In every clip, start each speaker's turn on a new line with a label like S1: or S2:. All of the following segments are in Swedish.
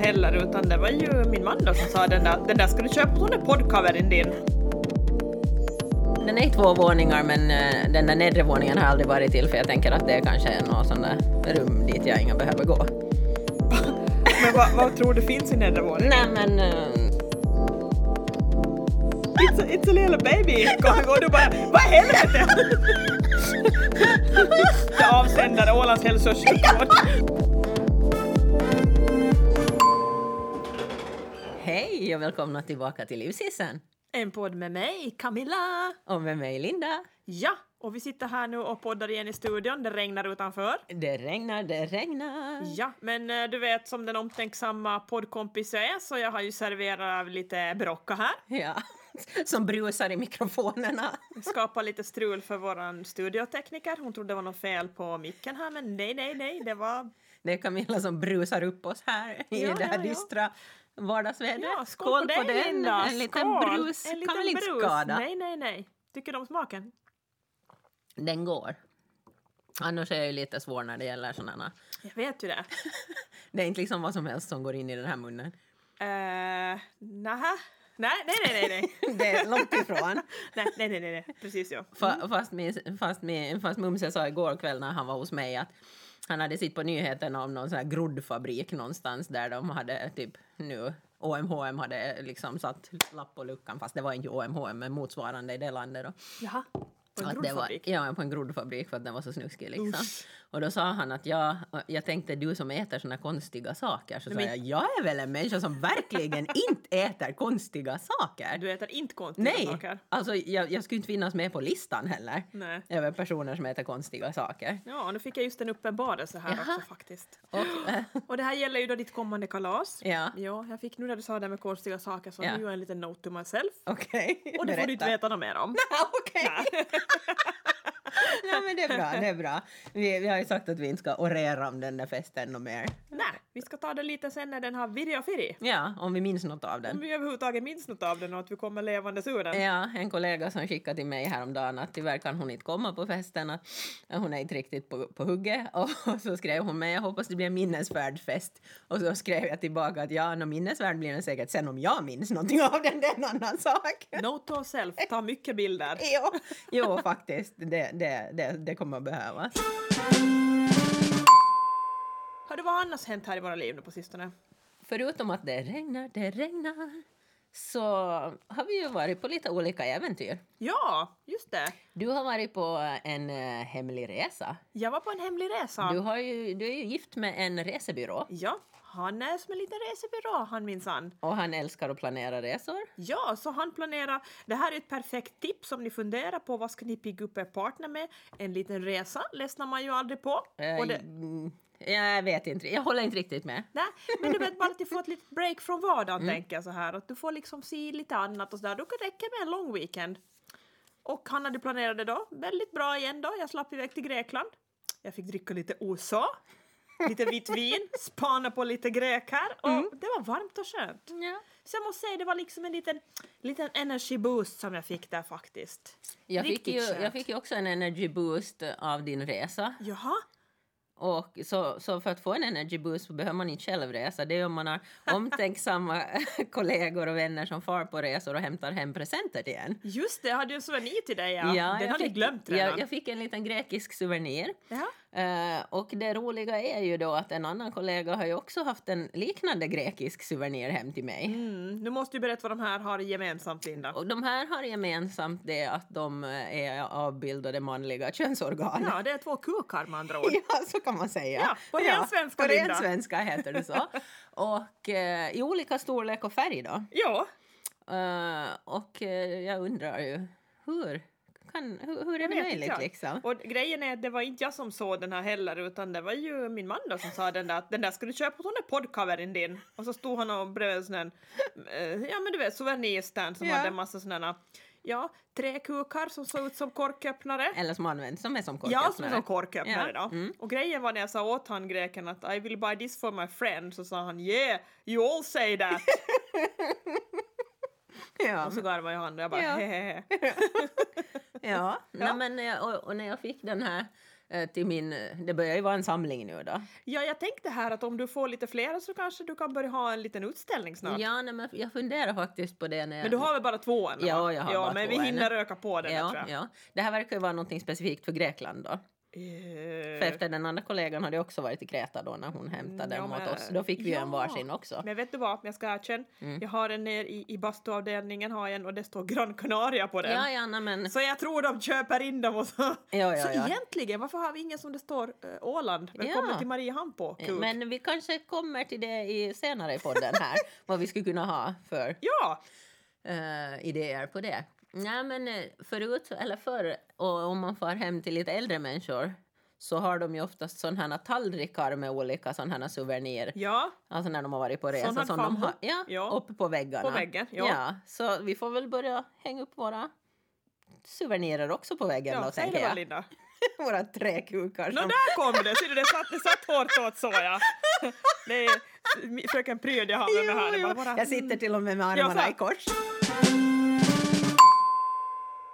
S1: heller, utan det var ju min man då som sa den där, den där ska du köpa, hon är poddcovern din.
S2: Den är i två våningar men eh, den där nedre våningen har jag aldrig varit till för jag tänker att det är kanske är något sånt där rum dit jag inte behöver gå.
S1: Men vad, vad tror du finns i nedre våningen?
S2: Nej men... eh,
S1: It's a, it's a little baby coming och du bara vad i helvete! Det avsändare Ålands hälso och sjukvård.
S2: Hej och välkomna tillbaka till Livshissen!
S1: En podd med mig, Camilla.
S2: Och med mig Linda.
S1: Ja, och vi sitter här nu och poddar igen i studion. Det regnar utanför.
S2: Det regnar, det regnar.
S1: Ja, men eh, du vet som den omtänksamma poddkompis jag är så jag har ju serverat lite brocka här.
S2: Ja. Som brusar i mikrofonerna.
S1: Skapa lite strul för våran studiotekniker. Hon trodde det var något fel på micken här men nej, nej, nej, det var...
S2: Det är Camilla som brusar upp oss här i
S1: Ja,
S2: det här
S1: ja, ja.
S2: dystra vardagsvädret.
S1: Ja, skål, på dig
S2: den.
S1: Linda!
S2: En liten
S1: skål.
S2: brus
S1: En
S2: kan väl
S1: liten
S2: inte
S1: brus.
S2: skada?
S1: Nej, nej, nej. Tycker du om smaken?
S2: Den går. Annars är jag ju lite svår när det gäller sådana.
S1: Jag vet ju det.
S2: Det är inte liksom vad som helst som går in i den här munnen.
S1: Uh, nähä? Nej, nej, nej, nej, nej.
S2: Det är långt ifrån.
S1: nej, nej, nej, nej, nej. Precis ja.
S2: Fa- Fast, min, fast, min, fast Mumse sa igår kväll när han var hos mig att han hade sett på nyheterna om någon sån här groddfabrik någonstans där de hade typ nu OMHM hade liksom satt lapp på luckan fast det var inte OMHM men motsvarande i det landet då.
S1: Jaha. På en
S2: Att det var,
S1: grodfabrik?
S2: ja, på en groddfabrik för att den var så snuskig liksom.
S1: Usch.
S2: Och då sa han att jag, jag tänkte du som äter såna konstiga saker så sa
S1: Men-
S2: jag jag är väl en människa som verkligen inte äter konstiga saker.
S1: Du äter inte konstiga
S2: Nej,
S1: Typ saker?
S2: alltså jag, jag skulle inte finnas med på listan heller.
S1: Nej.
S2: Över personer som äter konstiga saker.
S1: Ja, nu fick jag just en uppenbarelse här
S2: Jaha.
S1: också faktiskt.
S2: Och, eh,
S1: Och det här gäller ju då ditt kommande kalas.
S2: ja,
S1: Ja, jag fick nu när du sa det här med konstiga saker så
S2: Ja.
S1: nu gör jag en liten note to myself.
S2: okej.
S1: Och det får du inte
S2: berätta.
S1: veta något mer om.
S2: Okej. Nej men det är bra, det är bra. Vi, vi har ju sagt att vi inte ska orera om den där festen och mer.
S1: Nej, vi ska ta det lite sen när den har virrat firi.
S2: Ja, om vi minns något av den.
S1: Om vi överhuvudtaget minns något av den och att vi kommer levandes ur den.
S2: Ja, en kollega som skickade till mig häromdagen att tyvärr kan hon inte komma på festen. Att hon är inte riktigt på, på hugget. Och, så skrev hon mig, jag hoppas det blir en minnesvärd fest. Och så skrev jag tillbaka att ja, nå minnesvärd blir den säkert sen om jag minns någonting av den, det är en annan sak.
S1: Note to self, ta mycket bilder.
S2: Jo, jo faktiskt, det, det, det, det kommer behövas.
S1: Har det vad annars hänt här i våra liv nu på sistone?
S2: Förutom att det regnar, det regnar, så har vi ju varit på lite olika äventyr.
S1: Ja, just det.
S2: Du har varit på en eh, hemlig resa.
S1: Jag var på en hemlig resa.
S2: Du, har ju, du är ju gift med en resebyrå.
S1: Ja, han är som en liten resebyrå han minsann.
S2: Och han älskar att planera resor.
S1: Ja, så han planerar. Det här är ett perfekt tips om ni funderar på vad ska ni pigga upp er partner med. En liten resa ledsnar man ju aldrig på.
S2: Eh,
S1: Och det,
S2: mm, Jag vet inte, jag håller inte riktigt med.
S1: nej, men du vet bara att du får ett litet break från vardagen
S2: Mm.
S1: tänker jag så här. Att du får liksom se lite annat och sådär. Då kan det räcka med en lång weekend. Och han hade planerat det då. Väldigt bra igen då. Jag slapp iväg till Grekland. Jag fick dricka lite USA. Lite vitt vin, spana på lite grek här och
S2: Mm.
S1: det var varmt och skönt.
S2: Ja.
S1: Så jag måste säga, det var liksom en liten, liten energy boost som jag fick där faktiskt.
S2: Jag, fick
S1: Riktigt
S2: ju,
S1: skönt.
S2: jag fick ju också en energy boost av din resa.
S1: Jaha,
S2: Och så, så för att få en energy boost så behöver man inte själv resa. Det är om man har omtänksamma kollegor och vänner som far på resor och hämtar hem presenter till en.
S1: just det, jag hade ju en souvenir till dig ja. Den
S2: jag
S1: hade jag
S2: fick-
S1: glömt redan.
S2: jag, jag fick en liten grekisk souvenir.
S1: Jaha.
S2: Eh, och det roliga är ju då att en annan kollega har ju också haft en liknande grekisk souvenir hem till mig.
S1: Mm, nu måste du berätta vad de här har gemensamt Linda.
S2: Och de här har gemensamt det att de eh, är avbildade manliga könsorgan.
S1: Ja, det är två kukar med andra ord.
S2: Ja, så kan man säga.
S1: Ja, på ren svenska,
S2: På ren
S1: Linda.
S2: svenska heter det så. och eh, i olika storlek och färg då.
S1: Ja,
S2: Eh, och eh, jag undrar ju hur, kan, hur, hur är
S1: Jag
S2: det
S1: vet
S2: möjligt
S1: inte jag.
S2: liksom?
S1: och grejen är att det var inte jag som såg den här heller utan det var ju min man då som sa den där att den där ska du köpa hon är poddcovern din. Och så stod han och bredvid en sån här, eh, ja men du vet souvenirstand som
S2: Ja.
S1: hade en massa sådana ja, tre kukar som såg ut som korköppnare.
S2: Eller som används, som är som
S1: Ja, som
S2: korköppnare.
S1: en sån korköppnare
S2: Ja, Mm.
S1: då. Och grejen var när jag sa åt han greken att I will buy this for my friend så sa han yeah, you all say that.
S2: Ja,
S1: och så garvade jag han och jag bara
S2: Ja.
S1: hehehe.
S2: ja. Nej, men, eh, och, och när jag fick den här eh, till min... Det börjar ju vara en samling nu då.
S1: Ja, jag tänkte här att om du får lite fler så kanske du kan börja ha en liten utställning snart.
S2: Ja, nej, men jag funderar faktiskt på det när jag...
S1: Men du har väl bara två än? va?
S2: Ja, jag har
S1: ja
S2: bara
S1: men
S2: två
S1: vi
S2: än.
S1: hinner öka på den
S2: ja,
S1: tror jag.
S2: ja. Det här verkar ju vara något specifikt för Grekland då.
S1: Eh,
S2: För efter den andra kollegan hade också varit i Kreta då när hon hämtade
S1: ja,
S2: dem
S1: men-
S2: åt oss. Då fick vi ju en
S1: ja.
S2: varsin också.
S1: Men vet du vad, jag ska erkänna.
S2: Mm.
S1: Jag har en nere i, i bastuavdelningen har jag en och det står Gran Canaria på den.
S2: Ja, ja, nej, men...
S1: Så jag tror de köper in dem och så.
S2: Ja, ja,
S1: så
S2: ja.
S1: egentligen, varför har vi ingen som det står eh, Åland? Välkommen
S2: Ja.
S1: till Mariehamn på kuk.
S2: Men vi kanske kommer till det i, senare i podden här. vad vi skulle kunna ha för
S1: Ja!
S2: eh, idéer på det. Nej men eh, förut, eller förr, och om man far hem till lite äldre människor så har de ju oftast sådana här tallrikar med olika sådana här souvenirer.
S1: Ja,
S2: Alltså när de har varit på resa.
S1: Sån hade
S2: som de
S1: farmor.
S2: har, ja,
S1: Ja.
S2: Uppe på väggarna.
S1: på väggen. Ja.
S2: så vi får väl börja hänga upp våra souvenirer också på väggen
S1: Ja,
S2: då
S1: säg
S2: tänker
S1: det bara,
S2: jag.
S1: Linda.
S2: våra träkrokar
S1: Nå,
S2: som
S1: där kom det! Ser du, det satt, det satt hårt åt så ja. Det är mi- fröken Pryd jag har med här. Det
S2: Jo,
S1: är
S2: jo.
S1: bara våra-
S2: Jag sitter till och med med
S1: Ja,
S2: armarna
S1: så-
S2: i kors.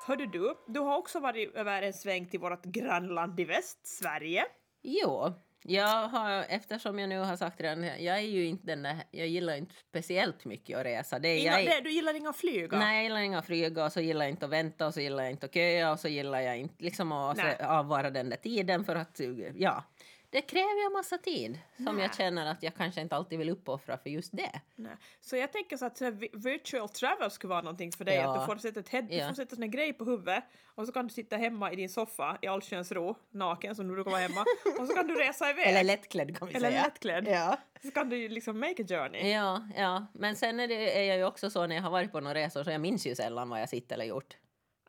S1: Hörde du, du har också varit över en sväng till vårt grannland i väst, Sverige.
S2: Jo, jag har, eftersom jag nu har sagt redan, jag är ju inte den där, jag gillar inte speciellt mycket att resa. Det, är-
S1: Inga,
S2: jag, är-
S1: det, du gillar inga flyga?
S2: Nej, jag gillar inga att flyga och så gillar jag inte att vänta och så gillar jag inte att köa och så gillar jag inte liksom att
S1: Nej.
S2: se- avvara den där tiden för att, ja. Det kräver ju en massa tid som
S1: Nej.
S2: jag känner att jag kanske inte alltid vill uppoffra för just det.
S1: Nej. Så jag tänker så att så här, vi- virtual travel skulle vara någonting för dig.
S2: Ja.
S1: Att du får sätta, ett head, du
S2: Ja.
S1: får sätta en grej på huvudet och så kan du sitta hemma i din soffa i allsköns ro, naken som du brukar vara hemma. och så kan du resa iväg.
S2: Eller lättklädd kan vi
S1: Eller
S2: säga.
S1: lättklädd.
S2: Ja.
S1: Så kan du ju liksom make a journey.
S2: Ja, ja, men sen är, det, är jag ju också så när jag har varit på några resor så jag minns ju sällan vad jag sitt eller gjort.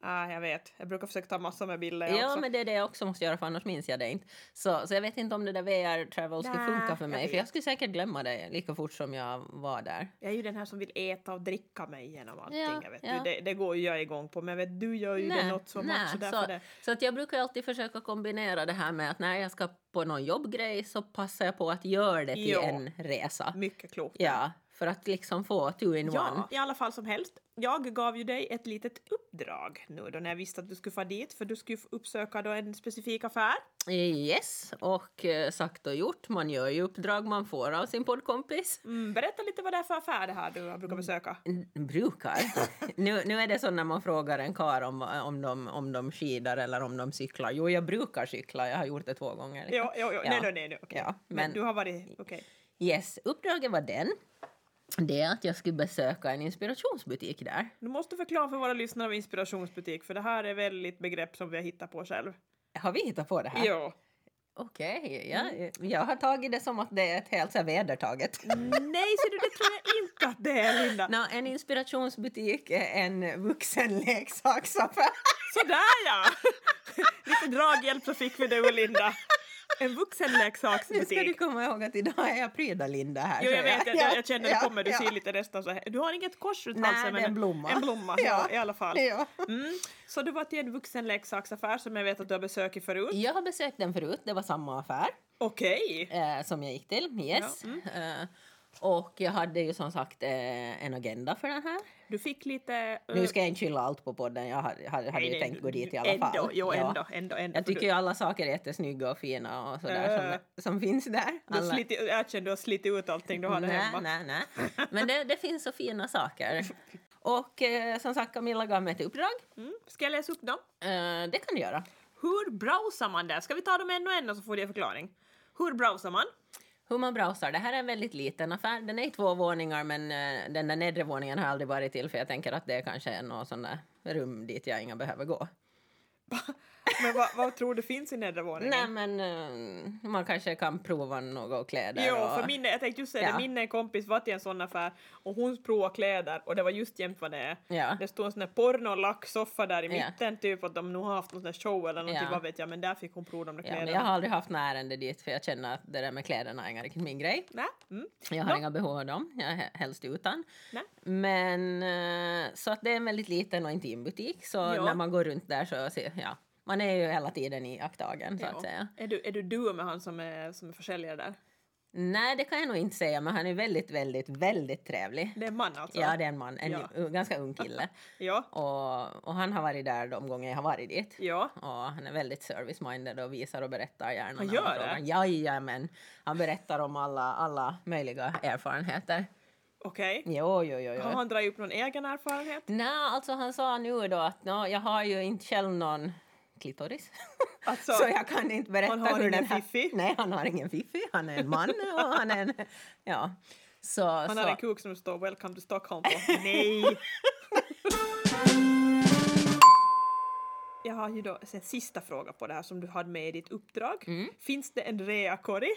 S1: Ah, jag vet, jag brukar försöka ta massor med bilder jag
S2: Ja,
S1: också.
S2: men det är det jag också måste göra för annars minns jag det inte. Så, så jag vet inte om det där VR-travel skulle
S1: Nä,
S2: funka för
S1: jag
S2: mig
S1: vet.
S2: för jag skulle säkert glömma det lika fort som jag var där.
S1: Jag är ju den här som vill äta och dricka mig igenom allting.
S2: Ja,
S1: jag vet.
S2: ja.
S1: Du, det, det går ju jag igång på, men jag vet, du gör ju det något så
S2: nä,
S1: mycket. Så därför
S2: så,
S1: det...
S2: så att jag brukar alltid försöka kombinera det här med att när jag ska på någon jobbgrej så passar jag på att göra det till
S1: Ja.
S2: en resa.
S1: Mycket klokt.
S2: Ja, för att liksom få two in one.
S1: Ja, i alla fall som helst. Jag gav ju dig ett litet uppdrag nu då när jag visste att du skulle få dit för du skulle ju uppsöka då en specifik affär.
S2: Yes, och eh, sagt och gjort, man gör ju uppdrag man får av sin poddkompis.
S1: Mm, berätta lite vad det är för affär det här du
S2: Mm.
S1: brukar besöka.
S2: N- Brukar. nu, nu är det så när man frågar en kar om, om, de, om de skidar eller om de cyklar. Jo, jag brukar cykla, jag har gjort det två gånger. liksom.
S1: Jo, jo, jo.
S2: Ja.
S1: Nej, nej, nej, nej. okej.
S2: Ja,
S1: Men,
S2: men-
S1: du har varit... Okej.
S2: Yes, uppdraget var den. Det är att jag skulle besöka en inspirationsbutik där.
S1: Du måste förklara för våra lyssnare vad inspirationsbutik för det här är väldigt begrepp som vi har hittat på själv.
S2: Har vi hittat på det här?
S1: Jo.
S2: Okej,
S1: Mm.
S2: jag, jag har tagit det som att det är ett helt så här vedertaget.
S1: Nej, ser du, det tror jag inte att det är, Linda.
S2: Nå, en inspirationsbutik är en vuxenleksaksaffär.
S1: Sådär ja! Lite draghjälp så fick vi det och Linda. En
S2: Nu ska du
S1: vuxenleksaksbutik.
S2: komma ihåg att idag är jag pryda-Linda här.
S1: Jo,
S2: Äh, så
S1: jag vet, jag, jag, jag känner det
S2: ja,
S1: kommer. Du
S2: ja.
S1: ser lite nästan så här. Du har inget kors runt
S2: Nej,
S1: halsen.
S2: det är en blomma.
S1: En blomma, ja,
S2: Ja.
S1: i alla fall.
S2: Ja.
S1: Mm. Så du var till en vuxenleksaksaffär som jag vet att du har besökt förut.
S2: Jag har besökt den förut, det var samma affär
S1: Okej.
S2: eh, som jag gick till, yes.
S1: mm.
S2: Eh, och jag hade ju som sagt eh, en agenda för den här.
S1: Du fick lite... eh,
S2: Nu ska jag inte skylla allt på podden, jag hade, hade
S1: nej,
S2: ju
S1: nej,
S2: tänkt
S1: du-
S2: gå dit i alla
S1: ändå,
S2: fall.
S1: Jo,
S2: Ja.
S1: ändå, ändå, ändå.
S2: Jag
S1: för
S2: tycker ju alla saker är jättesnygga och fina och sådär
S1: Äh.
S2: som, som finns där.
S1: du, du
S2: Alla-
S1: slitit, erkänn, du har slitit ut allting du hade
S2: nej,
S1: hemma.
S2: nej, nej. Men det, det finns så fina saker. Och eh, som sagt, Camilla gav mig ett uppdrag.
S1: Mm. Ska jag läsa upp dem?
S2: Eh, det kan du göra.
S1: Hur browsar man där? Ska vi ta dem en och en och så får du en förklaring? Hur browsar man?
S2: Hur man browsar. Det här är en väldigt liten affär. Den är i två våningar men eh, den där nedre våningen har jag aldrig varit till för jag tänker att det kanske är något sån där rum dit jag inga behöver gå.
S1: Men vad, vad tror du finns i nedre våningen?
S2: Nej men eh, man kanske kan prova några kläder
S1: Jo,
S2: och...
S1: för min, jag tänkte just säga
S2: Ja.
S1: det, min kompis var till en sån affär och hon provade kläder och det var just jämt vad det är.
S2: Ja.
S1: Det stod en sån där pornolacksoffa där i
S2: Ja.
S1: mitten typ att de nog har haft någon sån där show eller någonting,
S2: Ja.
S1: vad vet jag, men där fick hon prova de där
S2: Ja, men
S1: kläderna.
S2: jag har aldrig haft något ärende dit för jag känner att det där med kläderna är inga riktigt min grej.
S1: Nej, mm.
S2: Jag har
S1: Nå.
S2: inga behov av dem, jag är he- helst utan.
S1: Nej.
S2: Men eh, så att det är en väldigt liten och intim butik så
S1: Ja.
S2: när man går runt där så ser ja, man är ju hela tiden i aktdagen så
S1: Jo.
S2: att säga.
S1: Är du, är du duo med han som är, som är försäljare där?
S2: Nej, det kan jag nog inte säga, men han är väldigt, väldigt, väldigt trevlig.
S1: Det är en man alltså?
S2: Ja, det är en man, en
S1: Ja.
S2: u- ganska ung kille.
S1: Ja.
S2: Och, och han har varit där de gånger jag har varit dit.
S1: Ja.
S2: Och han är väldigt service-minded och visar och berättar gärna.
S1: Han
S2: när
S1: gör
S2: man
S1: det?
S2: frågar. Jajamän! Han berättar om alla, alla möjliga erfarenheter.
S1: Okej.
S2: Jo, jo, jo.
S1: Har
S2: jo.
S1: han dragit upp någon egen erfarenhet?
S2: Nej, alltså han sa nu då att nå, jag har ju inte själv någon klitoris.
S1: Alltså,
S2: så jag kan inte berätta
S1: han har
S2: hur
S1: ingen
S2: den här...
S1: fiffi?
S2: Nej, han har ingen fiffi. Han är en man och han är en... Ja. Så,
S1: han
S2: så.
S1: har en kuk som det står “Welcome to Stockholm” på. Nej! Jag har ju då en sista fråga på det här som du hade med i ditt uppdrag.
S2: Mm.
S1: Finns det en reakorg?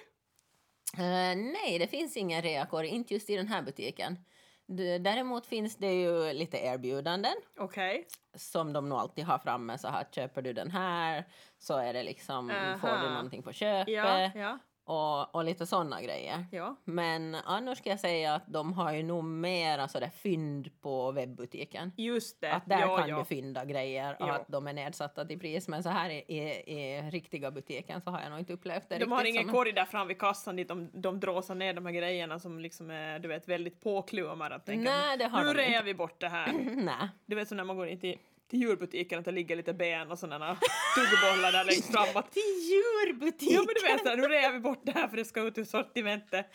S2: Eh, nej, det finns ingen reakor, inte just i den här butiken. D- Däremot finns det ju lite erbjudanden
S1: Okej.
S2: som de nog alltid har framme. Så här, köper du den här så är det liksom, får
S1: Aha.
S2: du någonting på köpet
S1: Ja, ja,
S2: och, och lite sådana grejer.
S1: ja.
S2: Men annars ska jag säga att de har ju nog mera sådär fynd på webbutiken.
S1: Just det.
S2: Att där
S1: Eh, ja,
S2: kan
S1: ja.
S2: du fynda grejer och
S1: Ja.
S2: att de är nedsatta till pris. Men så här i, i, i riktiga butiken så har jag nog inte upplevt det
S1: De har
S2: riktigt
S1: ingen
S2: som-
S1: korg där fram vid kassan dit de, de dråsar ner de här grejerna som liksom är du vet, väldigt påklummar att tänka
S2: Nej, det har
S1: nu
S2: de inte.
S1: rear vi bort det här.
S2: Nej.
S1: Du vet som när man går in till, till djurbutiken att det ligger lite ben och sådana tuggbollar där längst fram. Att,
S2: Till djurbutiken!
S1: jo men du vet såhär, nu rear vi bort det här för det ska ut ur sortimentet.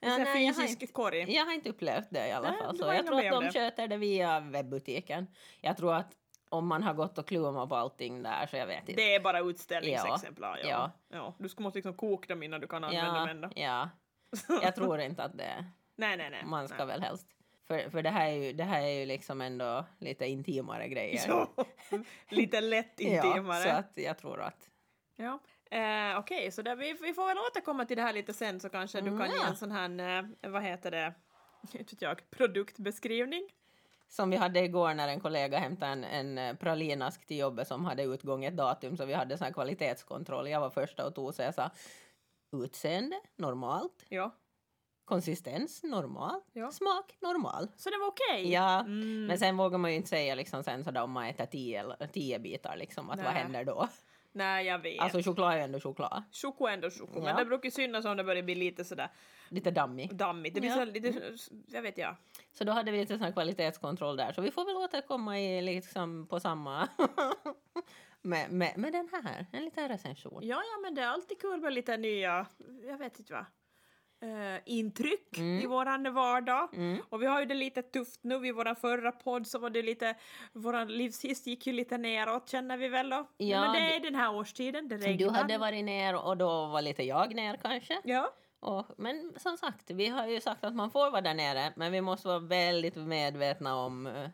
S2: Ja,
S1: Ja,
S2: nej, jag har
S1: fysisk korg.
S2: Jag har inte upplevt det i alla
S1: Nej,
S2: fall.
S1: du
S2: Så
S1: var
S2: jag
S1: ändå
S2: tror att
S1: med om
S2: de
S1: det.
S2: sköter det via webbutiken. Jag tror att om man har gått och klummat på allting där så jag vet inte.
S1: Det är bara utställningsexemplar. Ja. Ja.
S2: Ja.
S1: Du ska måste liksom koka dem innan du kan använda dem ändå.
S2: ja, ja. Jag tror inte att det
S1: nej, nej, nej.
S2: Man ska
S1: nej.
S2: väl helst. För, för det, här är ju, det här är ju liksom ändå lite intimare grejer.
S1: Ja. Lite lätt intimare.
S2: Ja, så att jag tror att...
S1: Ja. Eh, Okej, så där, vi, vi får väl återkomma till det här lite sen så kanske du kan
S2: Mm,
S1: ge
S2: ja.
S1: en sån här, eh, vad heter det, inte vet jag, produktbeskrivning.
S2: Som vi hade igår när en kollega hämtade en, en eh, pralinask till jobbet som hade utgång ett datum så vi hade sån här kvalitetskontroll. Jag var första och tog så jag sa utseende normalt,
S1: Ja.
S2: konsistens normal,
S1: Ja.
S2: smak normal.
S1: Så det var okej?
S2: Ja,
S1: Mm.
S2: men sen vågar man ju inte säga liksom sen sådär om man äter tio, eller- tio bitar liksom att vad
S1: Nej.
S2: händer då?
S1: Nej, jag vet.
S2: Alltså choklad är ju ändå choklad.
S1: Choko är ändå choko, men
S2: Ja.
S1: det brukar ju synas om det börjar bli lite sådär
S2: Lite dammig.
S1: dammigt. Det blir
S2: Ja.
S1: så
S2: Mm.
S1: lite, jag vet ja.
S2: Så då hade vi lite sån här kvalitetskontroll där. Så vi får väl återkomma i, liksom, på samma... med, med, med den här, en liten recension.
S1: Ja, ja, men det är alltid kul med lite nya, jag vet inte vad, eh, intryck
S2: Mm.
S1: i våran vardag. Och vi har ju det lite tufft nu. Vid våran förra podd så var det lite, våran livshiss gick ju lite neråt känner vi väl då.
S2: Ja,
S1: men det
S2: det-
S1: är den här årstiden, det regnar.
S2: Du hade varit ner och då var lite jag ner kanske.
S1: Ja,
S2: Och, men som sagt, vi har ju sagt att man får vara där nere men vi måste vara väldigt medvetna om eh,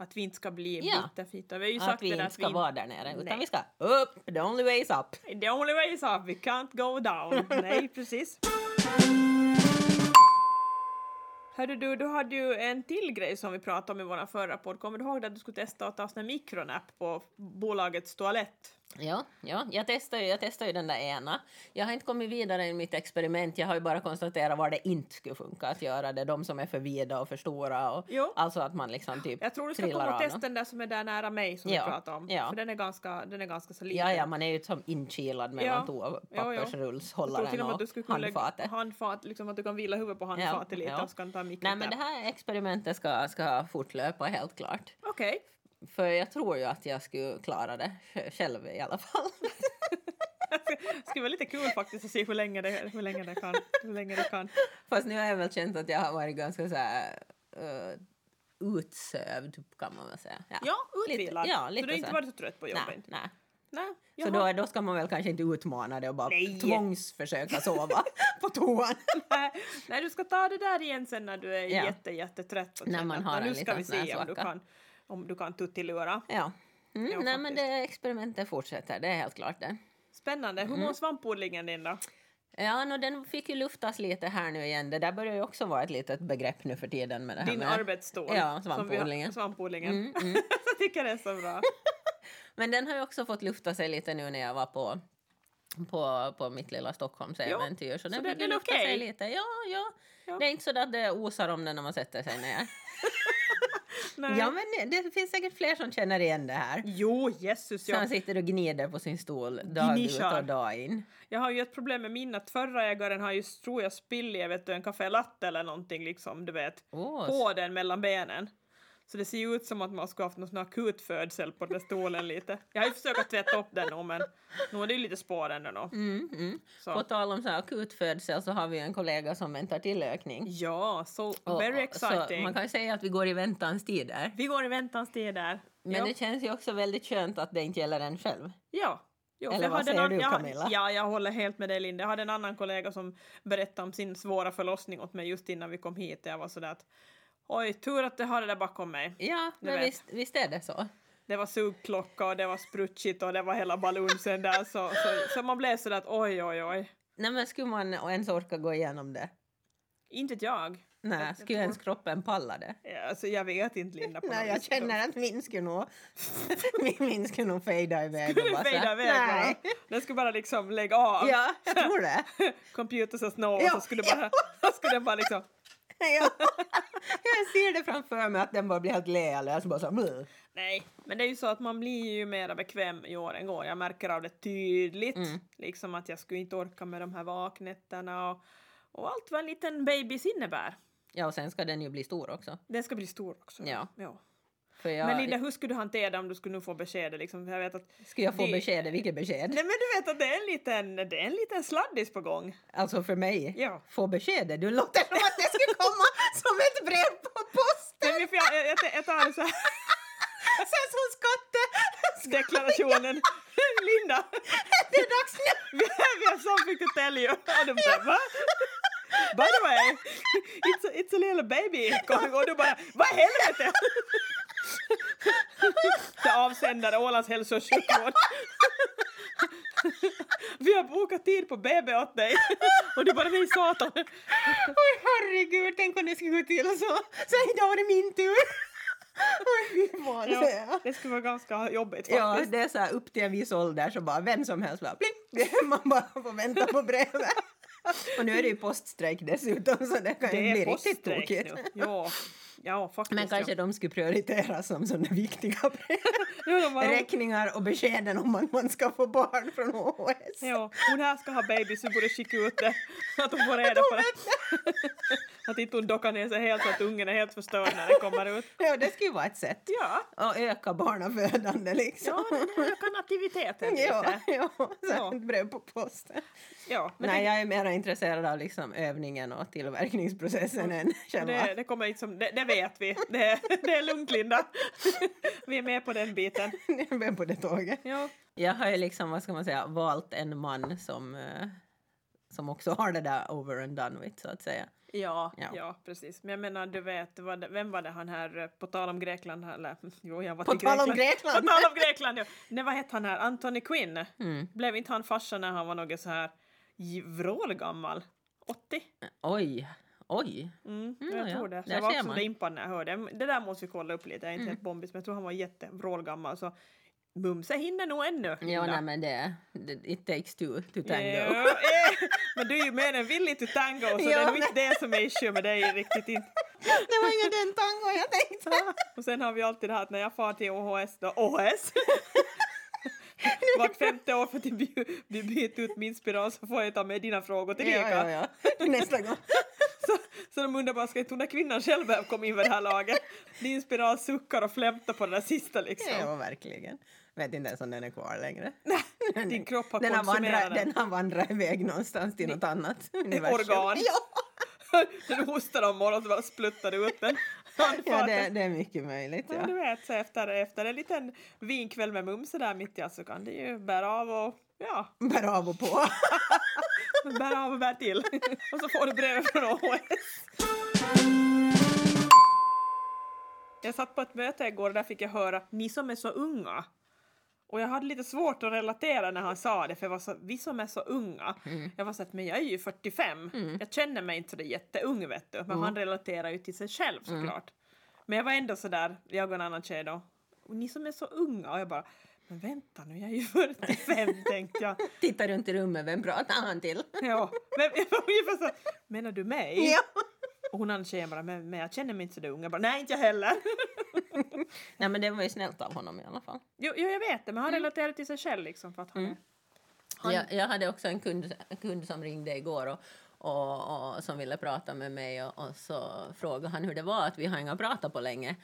S1: att vi inte ska bli
S2: Ja.
S1: bitterfitta. Vi har ju sagt
S2: att vi
S1: det där
S2: inte
S1: att
S2: ska
S1: vi...
S2: vara där nere utan
S1: Nej.
S2: vi ska upp, the only way is up.
S1: The only way is up, we can't go down. Nej, precis. Hörde du, du hade ju en till grej som vi pratade om i vår förra podd. Kommer du ihåg det att du skulle testa att ta en sån här mikronapp på bolagets toalett?
S2: Ja, ja. Jag, testar ju, jag testar ju den där ena. Jag har inte kommit vidare i mitt experiment. Jag har ju bara konstaterat var det inte skulle funka att göra det. De som är för vida och för stora. Och,
S1: Jo.
S2: Alltså att man liksom typ
S1: Jag tror du ska
S2: trillar
S1: komma och
S2: av
S1: testa
S2: dem.
S1: den där som är där nära mig som
S2: Ja,
S1: vi pratade om.
S2: ja.
S1: För den är ganska, den är ganska så liten.
S2: Ja, ja, man är ju som inkilad
S1: Ja,
S2: mellan
S1: ja, ja. Jag tror till
S2: toapappersrullshållaren
S1: och med att du skulle
S2: och
S1: kunna lägga
S2: handfatet.
S1: handfat, liksom att du kan vila huvudet på handfatet lite
S2: ja.
S1: och så kan du ta en
S2: Nej,
S1: mikronapp.
S2: men det här experimentet ska, ska fortlöpa helt klart.
S1: Okej.
S2: För jag tror ju att jag skulle klara det sj- själv i alla fall.
S1: Det skulle vara lite kul faktiskt att se hur länge det, hur länge det kan. Hur länge det kan.
S2: Fast nu har jag väl känt att jag har varit ganska så här eh, utsövd typ, kan man väl säga.
S1: Ja,
S2: Lite-
S1: utvilad.
S2: ja,
S1: så
S2: lite
S1: du har inte
S2: så.
S1: varit så trött på
S2: nej,
S1: jobbet?
S2: nej.
S1: Nej.
S2: Så
S1: jaha.
S2: då, då ska man väl kanske inte utmana det och bara
S1: Nej.
S2: tvångsförsöka sova på toan.
S1: Nej, Nej, du ska ta det där igen sen när du är
S2: Ja.
S1: jätte, jättetrött. Och
S2: När
S1: känner
S2: man
S1: att,
S2: har
S1: "Nå,
S2: en
S1: Nu ska
S2: liten
S1: vi
S2: sån här
S1: se om du
S2: svacka."
S1: kan, om du kan tuttilura.
S2: ja. Mm,
S1: Ja,
S2: nej men
S1: faktiskt.
S2: det experimentet fortsätter, det är helt klart det.
S1: Spännande.
S2: Mm.
S1: Hur mår svampodlingen din då?
S2: Ja, nå, den fick ju luftas lite här nu igen. Det där börjar ju också vara ett litet begrepp nu för tiden med det här
S1: Din
S2: med...
S1: arbetsstål.
S2: Ja, Mm,
S1: som vi har-
S2: svampodlingen.
S1: Svampodlingen. jag tycker det är så bra.
S2: Men den har ju också fått lufta sig lite nu när jag var på, på, på mitt lilla Stockholmsäventyr. Så den
S1: det-
S2: fick
S1: den
S2: ju
S1: är
S2: lufta
S1: okej?
S2: sig lite. Ja, ja,
S1: Ja.
S2: Det är inte så att det osar om den när man sätter sig ner.
S1: Nej.
S2: Ja, men det finns säkert fler som känner igen det här.
S1: Jo, Jesus ja.
S2: Som sitter och gnider på sin stol dag ut
S1: Gnissar.
S2: och dag in.
S1: Jag har ju ett problem med min att förra ägaren har ju, tror jag, spill i jag vet, du, en kaffe latte eller någonting liksom, du vet,
S2: Åh,
S1: på den mellan benen. Så det ser ju ut som att man ska ha haft någon sån här akut födsel på den där stolen lite. Jag har ju försökt att tvätta upp den nu men nu är det ju lite spår ändå. Då.
S2: Mm, mm.
S1: Så.
S2: På tal om så här akutfödsel så har vi en kollega som väntar till ökning.
S1: Ja, så
S2: Och-
S1: very
S2: och- Så
S1: exciting.
S2: man kan ju säga att vi går i väntans tider.
S1: Vi går i väntans tid där.
S2: Men
S1: ja.
S2: det känns ju också väldigt skönt att det inte gäller en själv.
S1: Ja. Jo, för
S2: Eller
S1: jag
S2: vad
S1: hade en
S2: säger
S1: ann-
S2: du,
S1: jag,
S2: Camilla?
S1: Ja, jag håller helt med dig Linda. Jag hade en annan kollega som berättade om sin svåra förlossning åt mig just innan vi kom hit. Jag var sådär att oj, tur att jag har det där bakom mig.
S2: Ja,
S1: Du
S2: men
S1: vet.
S2: visst, visst är det så.
S1: Det var sugklocka och det var sprutchigt och det var hela balunsen där. Så, så, så man blev sådär att oj, oj, oj.
S2: Nej, men skulle man ens orka gå igenom det?
S1: Inte vet jag.
S2: Nej,
S1: jag
S2: skulle
S1: tror-
S2: ens kroppen palla det?
S1: Ja, Alltså, jag vet inte Linda. På något
S2: Nej, jag
S1: vis.
S2: känner att min skulle nog, min, min skulle nog fejda iväg. och
S1: Det
S2: bara så här,
S1: fejdar iväg bara.
S2: Nej.
S1: Den skulle bara liksom lägga av.
S2: Ja, jag tror det.
S1: Computers och snow och
S2: Ja,
S1: så skulle, bara, så skulle den bara liksom
S2: Ja. Jag ser det framför mig att den bara blir helt lealös. Bara så här, "Bleh."
S1: Nej, men det är ju så att man blir ju mer bekväm i åren går. Jag märker av det tydligt.
S2: Mm.
S1: Liksom att jag skulle inte orka med de här vaknätterna och, och allt vad en liten babys innebär.
S2: ja, och sen ska den ju bli stor också.
S1: Den ska bli stor också.
S2: Ja. För jag,
S1: Men Linda, hur skulle du hantera det om du skulle nu få beskedet? Liksom? För Jag vet att,
S2: ska jag få
S1: det-
S2: beskedet? Vilket besked?
S1: nej men du vet att det är en liten, det är en liten sladdis på gång.
S2: Alltså för mig?
S1: Ja.
S2: Få beskedet? Du låter som att det skulle komma som ett brev på posten!
S1: Nej, men för jag, jag, jag, jag tar det så här,
S2: Sen som skotte!
S1: deklarationen. Linda,
S2: Det är dags nu!
S1: vi vi har something to tell you. Och de bara, va? By the way, it's a, it's a little baby. Och du bara, vad i helvete? Det är avsändare, Ålands hälso och sjukvård. Vi har bokat tid på BB åt dig. Och du bara, nej satan.
S2: Oj herregud, tänk om det skulle gå till så. Så idag var det min tur! Oj fy fan.
S1: Ja, det skulle vara ganska jobbigt
S2: Ja,
S1: faktiskt.
S2: det är så här upp till en viss ålder så bara vem som helst bara pling! Man bara får vänta på brevet. Och nu är det ju poststrejk dessutom så det kan ju
S1: det
S2: bli
S1: är
S2: riktigt
S1: poststrejk
S2: tokigt.
S1: nu. Ja, ja faktiskt.
S2: Men kanske de skulle prioritera som sådana viktiga brev.
S1: ja. Jo, de bara,
S2: Räkningar och beskeden om att man ska få barn från HHS.
S1: Ja, hon här ska ha baby så vi borde skicka ut det. Att hon får reda på det. Att inte hon dockar ner sig helt så att ungen är helt förstörd när den kommer ut.
S2: Ja, det skulle ju vara ett sätt
S1: Ja,
S2: att öka barnafödande liksom.
S1: ja den ökar nativiteten
S2: Ja,
S1: lite.
S2: ja, så
S1: Ja.
S2: ett brev på posten.
S1: Ja, men
S2: Nej, jag är mer intresserad av liksom övningen och tillverkningsprocessen än
S1: det,
S2: själva.
S1: det, det kommer liksom, det, det vet vi. Det, det är lugnt Linda. Vi är med på den biten.
S2: Vem på det tåget?
S1: Ja,
S2: Jag har ju liksom, vad ska man säga, valt en man som, eh, som också har det där over and done with så att säga.
S1: ja,
S2: Ja.
S1: ja. precis. Men jag menar, du vet, vad, det- vem var det han här, eh, på tal om Grekland, här, eller jo, jag var
S2: På
S1: till
S2: tal om
S1: Grekland. På
S2: Grekland!
S1: tal om Grekland, ja. Nej, vad hette han här? Anthony Quinn.
S2: Mm.
S1: Blev inte han farsa när han var något så här j- vrålgammal? 80?
S2: Oj, oj.
S1: Mm,
S2: Mm,
S1: jag
S2: ja.
S1: tror det. Så
S2: Där
S1: jag var
S2: ser
S1: också
S2: man. Mm.
S1: lite impad när jag hörde. Det där måste vi kolla upp lite. Jag är inte helt bombis, men jag tror han var jättevrålgammal. Så Mumse hinner nog ännu.
S2: Ja,
S1: Linda.
S2: nej men det, det, it takes two to tango.
S1: Ja, eh, men du är ju mer än villig till tango, så det
S2: Ja,
S1: är nog
S2: men-
S1: inte det som är issue med dig riktigt inte.
S2: Det var ju den tangon jag tänkte!
S1: Och sen har vi alltid det här att när jag far till OHS då, OHS! Vart femte år för att vi by- vi byter ut min spiral så får jag ta med dina frågor till Ica.
S2: Ja, ja, ja. Nästa gång.
S1: Så, så de undrar bara, ska inte den där kvinnan själv behöva komma in vid det här laget? Din spiral suckar och flämtar på det där sista liksom.
S2: Ja, verkligen. Vet inte ens om den är kvar längre.
S1: Din kropp har
S2: Den har,
S1: konsumerat
S2: vandrat,
S1: den.
S2: den har vandrat iväg någonstans till något annat universum.
S1: organ.
S2: Ja,
S1: Den hostar om morgonen så bara spluttar du ut den.
S2: ja det, det är mycket möjligt.
S1: Ja, du
S2: Ja.
S1: vet, så efter, efter en liten vinkväll med Mumse där mitt i allt så kan det ju bära av och ja,
S2: Bär av och på.
S1: bära av och bär till. Och så får du brevet från OHS. Jag satt på ett möte igår och där fick jag höra ni som är så unga. Och jag hade lite svårt att relatera när han sa det för jag var så, vi som är så unga. Jag var så att men jag är ju 45.
S2: Mm.
S1: Jag känner mig inte så där jätteung vet du. Men han relaterar ju till sig själv
S2: Mm.
S1: såklart. Men jag var ändå sådär, jag och en annan tjej då. Och ni som är så unga och jag bara men vänta nu jag är ju 45 tänkte jag.
S2: Titta runt i rummet, vem pratar han till?
S1: Ja, men jag var ungefär så här, menar du mig?
S2: Ja.
S1: Och hon andra tjejen bara, men, men jag känner mig inte så där ung. Jag bara, nej inte jag heller.
S2: Nej men det var ju snällt av honom i alla fall.
S1: Jo, jo, jag vet det, men han
S2: Mm.
S1: relaterar till sig själv liksom för att han är... Han-
S2: Jag, jag hade också en kund, en kund som ringde igår och, och, och som ville prata med mig och, och så frågade han hur det var att vi har inga pratat på länge.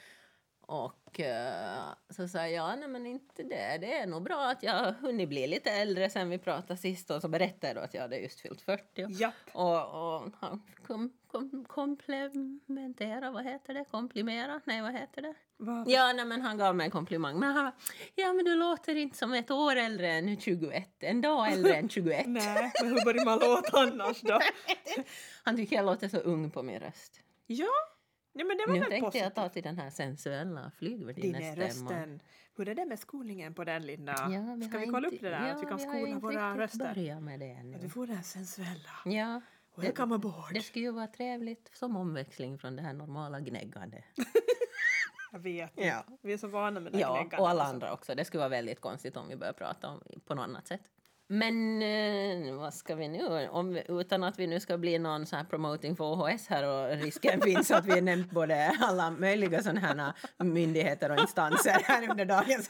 S2: Och eh, så sa jag, nej men inte det, det är nog bra att jag har hunnit bli lite äldre sen vi pratade sist och så berättade jag då att jag hade just fyllt 40.
S1: Japp.
S2: Och, och han kom, kom, komplementera, vad heter det? Komplimera? Nej, vad heter det?
S1: Vad-
S2: Ja, nej, men han gav mig en komplimang. Men han bara, ja men du låter inte som ett år äldre än 21, en dag äldre än 21.
S1: Nej, men hur börjar man låta annars då?
S2: Han tycker jag låter så ung på min röst.
S1: Ja, nej, men det var
S2: Nu
S1: väl
S2: tänkte jag
S1: positivt.
S2: ta till den här sensuella
S1: Din
S2: flygvärdinnestämman.
S1: rösten. Hur är det med skolningen på den, Linda?
S2: Ja,
S1: Ska vi
S2: har
S1: kolla
S2: inte-
S1: upp det där?
S2: Ja,
S1: att vi kan
S2: vi har ju
S1: skola
S2: inte
S1: våra
S2: riktigt
S1: röster?
S2: börjat med det
S1: Att vi
S2: ännu.
S1: får den sensuella.
S2: Ja,
S1: Welcome aboard.
S2: det skulle ju vara trevligt som omväxling från det här normala gnäggande.
S1: Jag vet.
S2: Ja.
S1: Vi är så vana med det här
S2: Ja,
S1: gnäggandet
S2: och alla
S1: så.
S2: andra också. Det skulle vara väldigt konstigt om vi börjar prata om, på något annat sätt. Men eh, vad ska vi nu? Om vi, utan att vi nu ska bli någon sån här promoting för OHS här och risken finns att vi har nämnt både alla möjliga sådana här myndigheter och instanser här under dagens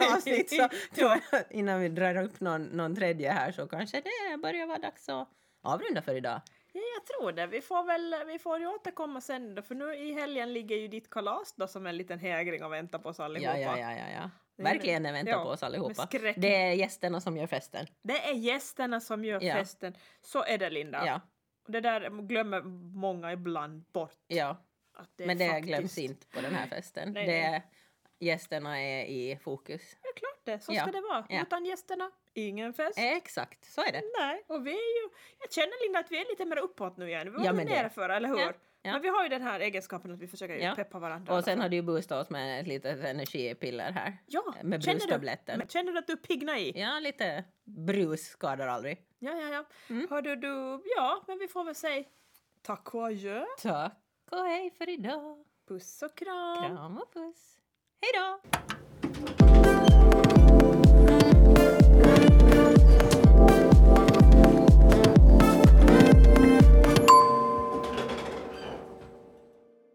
S2: avsnitt så tror jag att innan vi drar upp någon, någon tredje här så kanske det börjar vara dags att avrunda för idag.
S1: Ja, jag tror det. Vi får väl vi får ju återkomma sen då, för nu i helgen ligger ju ditt kalas då som en liten hägring och väntar på oss allihopa.
S2: Ja, ja, ja, ja, ja.
S1: Det är-
S2: Verkligen den väntar
S1: ja,
S2: på oss allihopa.
S1: med skräck.
S2: Det är gästerna som gör festen.
S1: Det är gästerna som gör
S2: Ja.
S1: festen. Så är det Linda.
S2: Ja,
S1: Det där glömmer många ibland bort.
S2: ja.
S1: Att det
S2: Men det
S1: faktiskt...
S2: glöms inte på den här festen.
S1: Nej,
S2: det,
S1: nej.
S2: Gästerna är i fokus.
S1: Ja, klart det. Så
S2: Ja.
S1: ska det vara.
S2: Ja. Eh,
S1: Utan gästerna, ingen fest.
S2: Exakt, så är det.
S1: Nej, och vi är ju... Jag känner Linda att vi är lite mer uppåt nu igen. Vi var
S2: Ja,
S1: väl
S2: men det-
S1: nere förra, eller hur?
S2: Ja, ja.
S1: Men vi har ju den här egenskapen att vi försöker ju
S2: Ja.
S1: peppa varandra.
S2: Och sen har du ju boostat oss med ett litet energipiller här.
S1: ja,
S2: med
S1: känner du-
S2: brustabletter.
S1: men Känner du att du piggnar i?
S2: Ja, lite brus skadar aldrig.
S1: Ja, ja, ja.
S2: Mm.
S1: Hör du, du, ja, men vi får väl säga tack och adjö.
S2: Tack och hej för idag.
S1: Puss och kram.
S2: Kram och puss. Hej då!